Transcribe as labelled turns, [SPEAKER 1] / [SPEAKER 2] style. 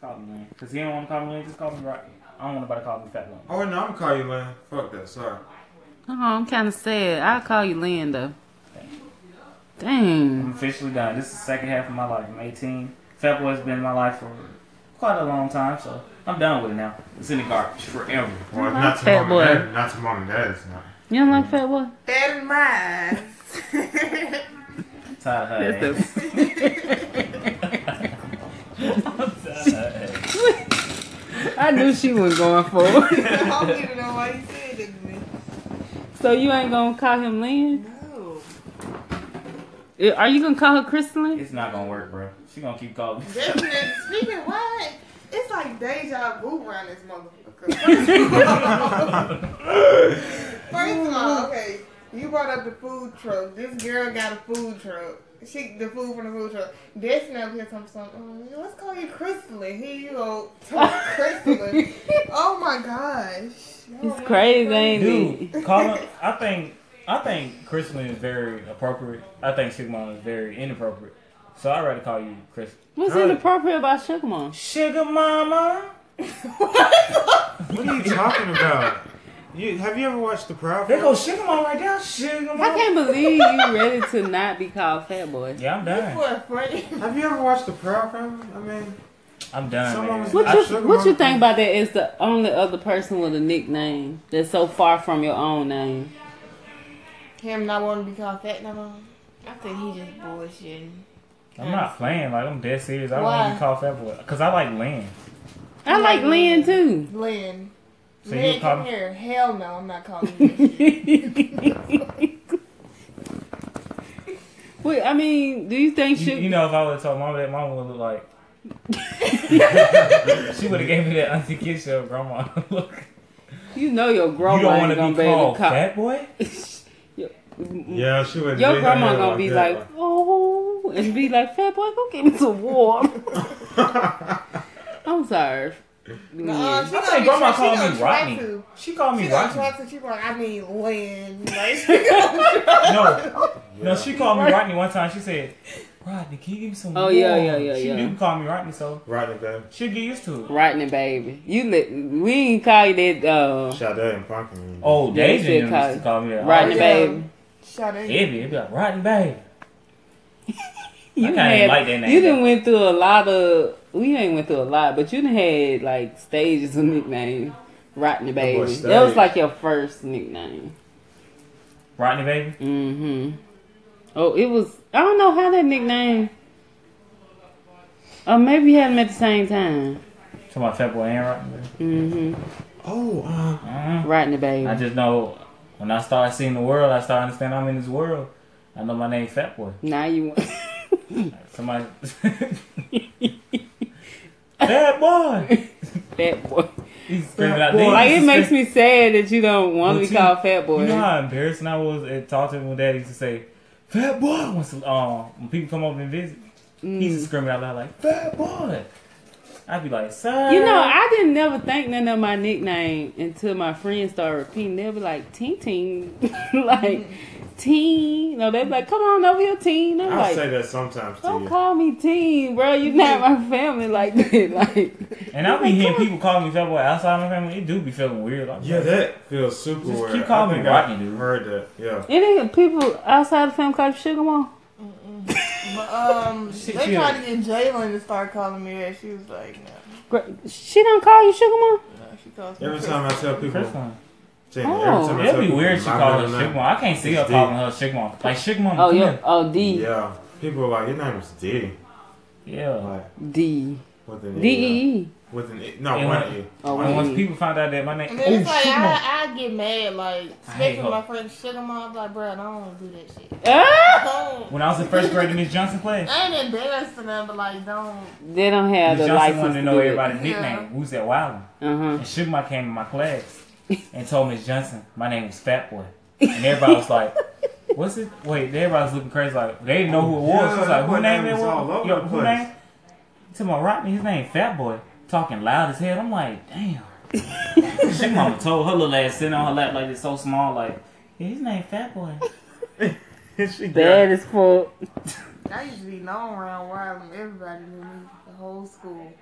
[SPEAKER 1] Call me lame. Cause he don't want to call me lame. Just call me right. I don't want nobody to call me fat lame.
[SPEAKER 2] Oh no, I'm calling you Lynn. Fuck that. Sorry.
[SPEAKER 3] Oh, I'm kind of sad. I'll call you Lynn, though. Dang.
[SPEAKER 1] I'm officially done. This is the second half of my life. I'm 18. Fat boy's been in my life for quite a long time, so I'm done with it now. It's in the garbage forever.
[SPEAKER 2] Well,
[SPEAKER 3] like
[SPEAKER 2] not to
[SPEAKER 3] Fat
[SPEAKER 2] mom
[SPEAKER 3] Boy.
[SPEAKER 2] and dad. Not to mom and dad. It's not.
[SPEAKER 3] You don't like Fat Boy?
[SPEAKER 4] That and mine.
[SPEAKER 1] I'm tired of her. ass.
[SPEAKER 3] That's the. I knew she was going for it.
[SPEAKER 4] I don't even know why you said that to me.
[SPEAKER 3] So you ain't gonna call him Lynn?
[SPEAKER 4] No.
[SPEAKER 3] Eh, Are you gonna call her Crystalline?
[SPEAKER 1] It's not gonna work, bro. She gonna keep calling. me.
[SPEAKER 4] That's it. Speaking of what? It's like deja vu around this motherfucker. First of all, okay, you brought up the food truck. This girl got a food truck. She the food from the food truck. Destiny up here comes some. "Mm, Let's call you Crystalline. Here you go, Crystalline. oh my gosh,
[SPEAKER 3] It's crazy, ain't it?
[SPEAKER 1] Dude, call him. I think I think Crystalline is very appropriate. I think Sigmund is very inappropriate. So I'd rather call you Chris.
[SPEAKER 3] What's
[SPEAKER 2] Huh?
[SPEAKER 3] inappropriate about Sugar Mom?
[SPEAKER 1] Sugar Mama.
[SPEAKER 2] What are you talking about? You have you ever watched The Proud?
[SPEAKER 1] There
[SPEAKER 2] Family?
[SPEAKER 1] goes Sugar Mama right there. Sugar
[SPEAKER 3] I
[SPEAKER 1] Mama.
[SPEAKER 3] can't believe you ready to not be called Fat Boy.
[SPEAKER 1] Yeah, I'm
[SPEAKER 4] You
[SPEAKER 1] done.
[SPEAKER 4] are funny.
[SPEAKER 2] Have you ever watched The Proud Family? I mean,
[SPEAKER 1] I'm done.
[SPEAKER 2] Someone
[SPEAKER 1] man.
[SPEAKER 2] was-
[SPEAKER 3] What
[SPEAKER 2] I
[SPEAKER 3] you
[SPEAKER 2] Sugar
[SPEAKER 3] what you
[SPEAKER 2] Mama.
[SPEAKER 3] think about that? Is the only other person with a nickname that's so far from your own name?
[SPEAKER 4] Him not wanting to be called fat no more. I think he just bullshitting.
[SPEAKER 1] I'm not playing. Like I'm dead serious. I don't want to
[SPEAKER 4] Why?
[SPEAKER 1] be called fat boy because I like Lynn.
[SPEAKER 3] I like Lynn too.
[SPEAKER 4] Lynn.
[SPEAKER 1] So you
[SPEAKER 4] Lynn,
[SPEAKER 1] would call
[SPEAKER 4] come
[SPEAKER 1] me-
[SPEAKER 4] here. Hell no, I'm not calling you. that.
[SPEAKER 3] Wait, I mean, do you think
[SPEAKER 1] You,
[SPEAKER 3] Sugar?
[SPEAKER 1] you know, if I would have told mama that, mama would look like. she would have gave me that auntie kiss your grandma look.
[SPEAKER 3] You know your
[SPEAKER 1] You
[SPEAKER 3] grandma
[SPEAKER 1] don't
[SPEAKER 3] ain't
[SPEAKER 1] want
[SPEAKER 3] gonna
[SPEAKER 1] to
[SPEAKER 3] be
[SPEAKER 1] be
[SPEAKER 3] able
[SPEAKER 1] called
[SPEAKER 3] to call.
[SPEAKER 1] fat boy.
[SPEAKER 2] yeah, she was.
[SPEAKER 3] Your grandma gonna be like, oh, and be like, fat boy, go get me some warm. I'm sorry.
[SPEAKER 4] Nah,
[SPEAKER 3] Lynn.
[SPEAKER 4] she
[SPEAKER 1] I think
[SPEAKER 4] gonna
[SPEAKER 1] grandma
[SPEAKER 4] she
[SPEAKER 1] called
[SPEAKER 4] gonna
[SPEAKER 1] me
[SPEAKER 4] try
[SPEAKER 1] Rodney.
[SPEAKER 4] to.
[SPEAKER 1] She called
[SPEAKER 4] She
[SPEAKER 1] me
[SPEAKER 4] gonna
[SPEAKER 1] Rocky.
[SPEAKER 4] try to. She like, I mean, Lynn. Like, she gonna try.
[SPEAKER 1] No, no, she called me Rodney one time. She said, Rodney, can you give me some
[SPEAKER 3] Oh, yeah,
[SPEAKER 1] warm?"
[SPEAKER 3] yeah, yeah,
[SPEAKER 1] She
[SPEAKER 3] yeah.
[SPEAKER 1] knew to call me Rodney, so
[SPEAKER 2] Rodney Bell,
[SPEAKER 1] she'll get used to it.
[SPEAKER 3] Rodney, baby, you li- we ain't call you that. Uh,
[SPEAKER 2] Sade and Pumpkin.
[SPEAKER 1] Oh,
[SPEAKER 3] Yeah,
[SPEAKER 1] they
[SPEAKER 3] you said
[SPEAKER 1] used
[SPEAKER 3] call-
[SPEAKER 1] to call me that.
[SPEAKER 3] Rodney,
[SPEAKER 4] yeah.
[SPEAKER 3] baby.
[SPEAKER 4] Shut
[SPEAKER 1] Oh,
[SPEAKER 4] it.
[SPEAKER 1] Heavy, it'd be like, Rodney, babe.
[SPEAKER 3] You
[SPEAKER 1] kinda
[SPEAKER 3] had,
[SPEAKER 1] like that name,
[SPEAKER 3] You
[SPEAKER 1] though.
[SPEAKER 3] done went through a lot of. We ain't went through a lot, but you done had like stages of nickname. Rodney, baby. That was
[SPEAKER 2] stage.
[SPEAKER 3] like your first nickname.
[SPEAKER 1] Rodney, baby.
[SPEAKER 3] Mm-hmm. Oh, it was. I don't know how that nickname. Or maybe you had them at the same time.
[SPEAKER 1] To my fat boy and Rodney, baby.
[SPEAKER 3] Mm-hmm.
[SPEAKER 2] Oh, um,
[SPEAKER 1] Mhm.
[SPEAKER 3] Rodney, baby.
[SPEAKER 1] I just know when I start seeing the world, I start understanding I'm in this world. I know my name's Fat Boy.
[SPEAKER 3] now you.
[SPEAKER 1] Somebody. Fat boy!
[SPEAKER 3] fat boy.
[SPEAKER 1] He's screaming out
[SPEAKER 2] Boy.
[SPEAKER 1] names.
[SPEAKER 3] Like it makes me sad that you don't want to
[SPEAKER 1] But
[SPEAKER 3] be
[SPEAKER 1] you-
[SPEAKER 3] called fat boy.
[SPEAKER 1] You know how embarrassing I was at talking to my dad. He used to say, "Fat boy." When, some- um, when people come over and visit,
[SPEAKER 3] Mm.
[SPEAKER 1] he used to scream out loud like, "Fat boy." I'd be like, "Sir."
[SPEAKER 3] You know, I didn't never think none of my nickname until my friends started repeating. They were like, Teen Teen. like, Teen. No, they be like, come on over here, Teen. I'm
[SPEAKER 2] I'll
[SPEAKER 3] like,
[SPEAKER 2] say that sometimes to
[SPEAKER 3] don't
[SPEAKER 2] you.
[SPEAKER 3] call me Teen, bro. You're not my family like that. Like,
[SPEAKER 1] and I be hearing people call me fat boy outside my family. It do be feeling weird. I'm
[SPEAKER 2] Yeah,
[SPEAKER 1] like,
[SPEAKER 2] that feels super
[SPEAKER 1] Just
[SPEAKER 2] weird.
[SPEAKER 1] keep calling
[SPEAKER 2] I
[SPEAKER 1] me
[SPEAKER 2] think I
[SPEAKER 1] Rodney, dude.
[SPEAKER 2] Heard that? Yeah.
[SPEAKER 3] any of the people outside the family call you Sugar Mom?
[SPEAKER 4] But, um,
[SPEAKER 1] She
[SPEAKER 4] they
[SPEAKER 1] killed.
[SPEAKER 4] tried to get Jalen to start calling me that. She was like, no,
[SPEAKER 3] Gr- She don't call you Sugar Mom?
[SPEAKER 4] no. She calls me.
[SPEAKER 2] Every time I tell people,
[SPEAKER 1] First one.
[SPEAKER 2] Jamie, every
[SPEAKER 3] Oh.
[SPEAKER 2] time I
[SPEAKER 1] It'd
[SPEAKER 2] tell
[SPEAKER 1] be
[SPEAKER 2] people
[SPEAKER 1] weird she
[SPEAKER 2] my
[SPEAKER 1] called her
[SPEAKER 2] middle name-
[SPEAKER 1] Shigmon. I can't see her
[SPEAKER 2] It's
[SPEAKER 1] calling her Shigmon. Like Shigmon.
[SPEAKER 3] Oh,
[SPEAKER 1] come
[SPEAKER 3] yeah.
[SPEAKER 1] here.
[SPEAKER 3] Oh, D.
[SPEAKER 2] Yeah, people are like your name is D.
[SPEAKER 1] Yeah.
[SPEAKER 2] Like
[SPEAKER 3] D.
[SPEAKER 2] with an
[SPEAKER 3] D.
[SPEAKER 2] E.
[SPEAKER 3] E. E.
[SPEAKER 2] yeah. With an E. No,
[SPEAKER 1] And
[SPEAKER 2] one
[SPEAKER 1] when-
[SPEAKER 2] E.
[SPEAKER 3] Oh,
[SPEAKER 1] And once
[SPEAKER 3] E.
[SPEAKER 1] people find out that my name,
[SPEAKER 4] And
[SPEAKER 1] oh
[SPEAKER 4] then it's like,
[SPEAKER 1] Shigmon.
[SPEAKER 4] I, I get mad, like,
[SPEAKER 1] hate
[SPEAKER 4] especially
[SPEAKER 1] her.
[SPEAKER 4] my friend Sugar Mom. I'm like, bro, I don't want to do that shit.
[SPEAKER 3] Ah!
[SPEAKER 4] Don't.
[SPEAKER 1] When I was in first grade in Miss Johnson class,
[SPEAKER 4] I ain't embarrassed enough, but like, don't.
[SPEAKER 3] They don't have
[SPEAKER 1] Miss
[SPEAKER 3] the
[SPEAKER 1] Johnson
[SPEAKER 3] license
[SPEAKER 1] wanted to
[SPEAKER 3] to
[SPEAKER 1] know
[SPEAKER 3] do it.
[SPEAKER 1] everybody's
[SPEAKER 4] Yeah.
[SPEAKER 1] nickname. Who's that Wildin'?
[SPEAKER 3] Uh-huh.
[SPEAKER 1] And Sugar Mike came in my class and told Miss Johnson my name was Fat Boy. And everybody was like, What's it? Wait, everybody was looking crazy. Like, they didn't know who it was.
[SPEAKER 2] Yeah,
[SPEAKER 1] She was like,
[SPEAKER 2] that boy
[SPEAKER 1] Who name
[SPEAKER 2] name
[SPEAKER 1] it
[SPEAKER 2] is all
[SPEAKER 1] was?
[SPEAKER 2] over
[SPEAKER 1] Yo,
[SPEAKER 2] the
[SPEAKER 1] who
[SPEAKER 2] place.
[SPEAKER 1] name? To my Rodney, his name Fat Boy. Talking loud as hell. I'm like, Damn. Sugar Mama told her little ass sitting on her lap like it's so small, like, yeah, his name Fat Boy.
[SPEAKER 2] she
[SPEAKER 3] Bad as fuck.
[SPEAKER 4] I used to be known around Wyoming. Everybody knew me, the whole school.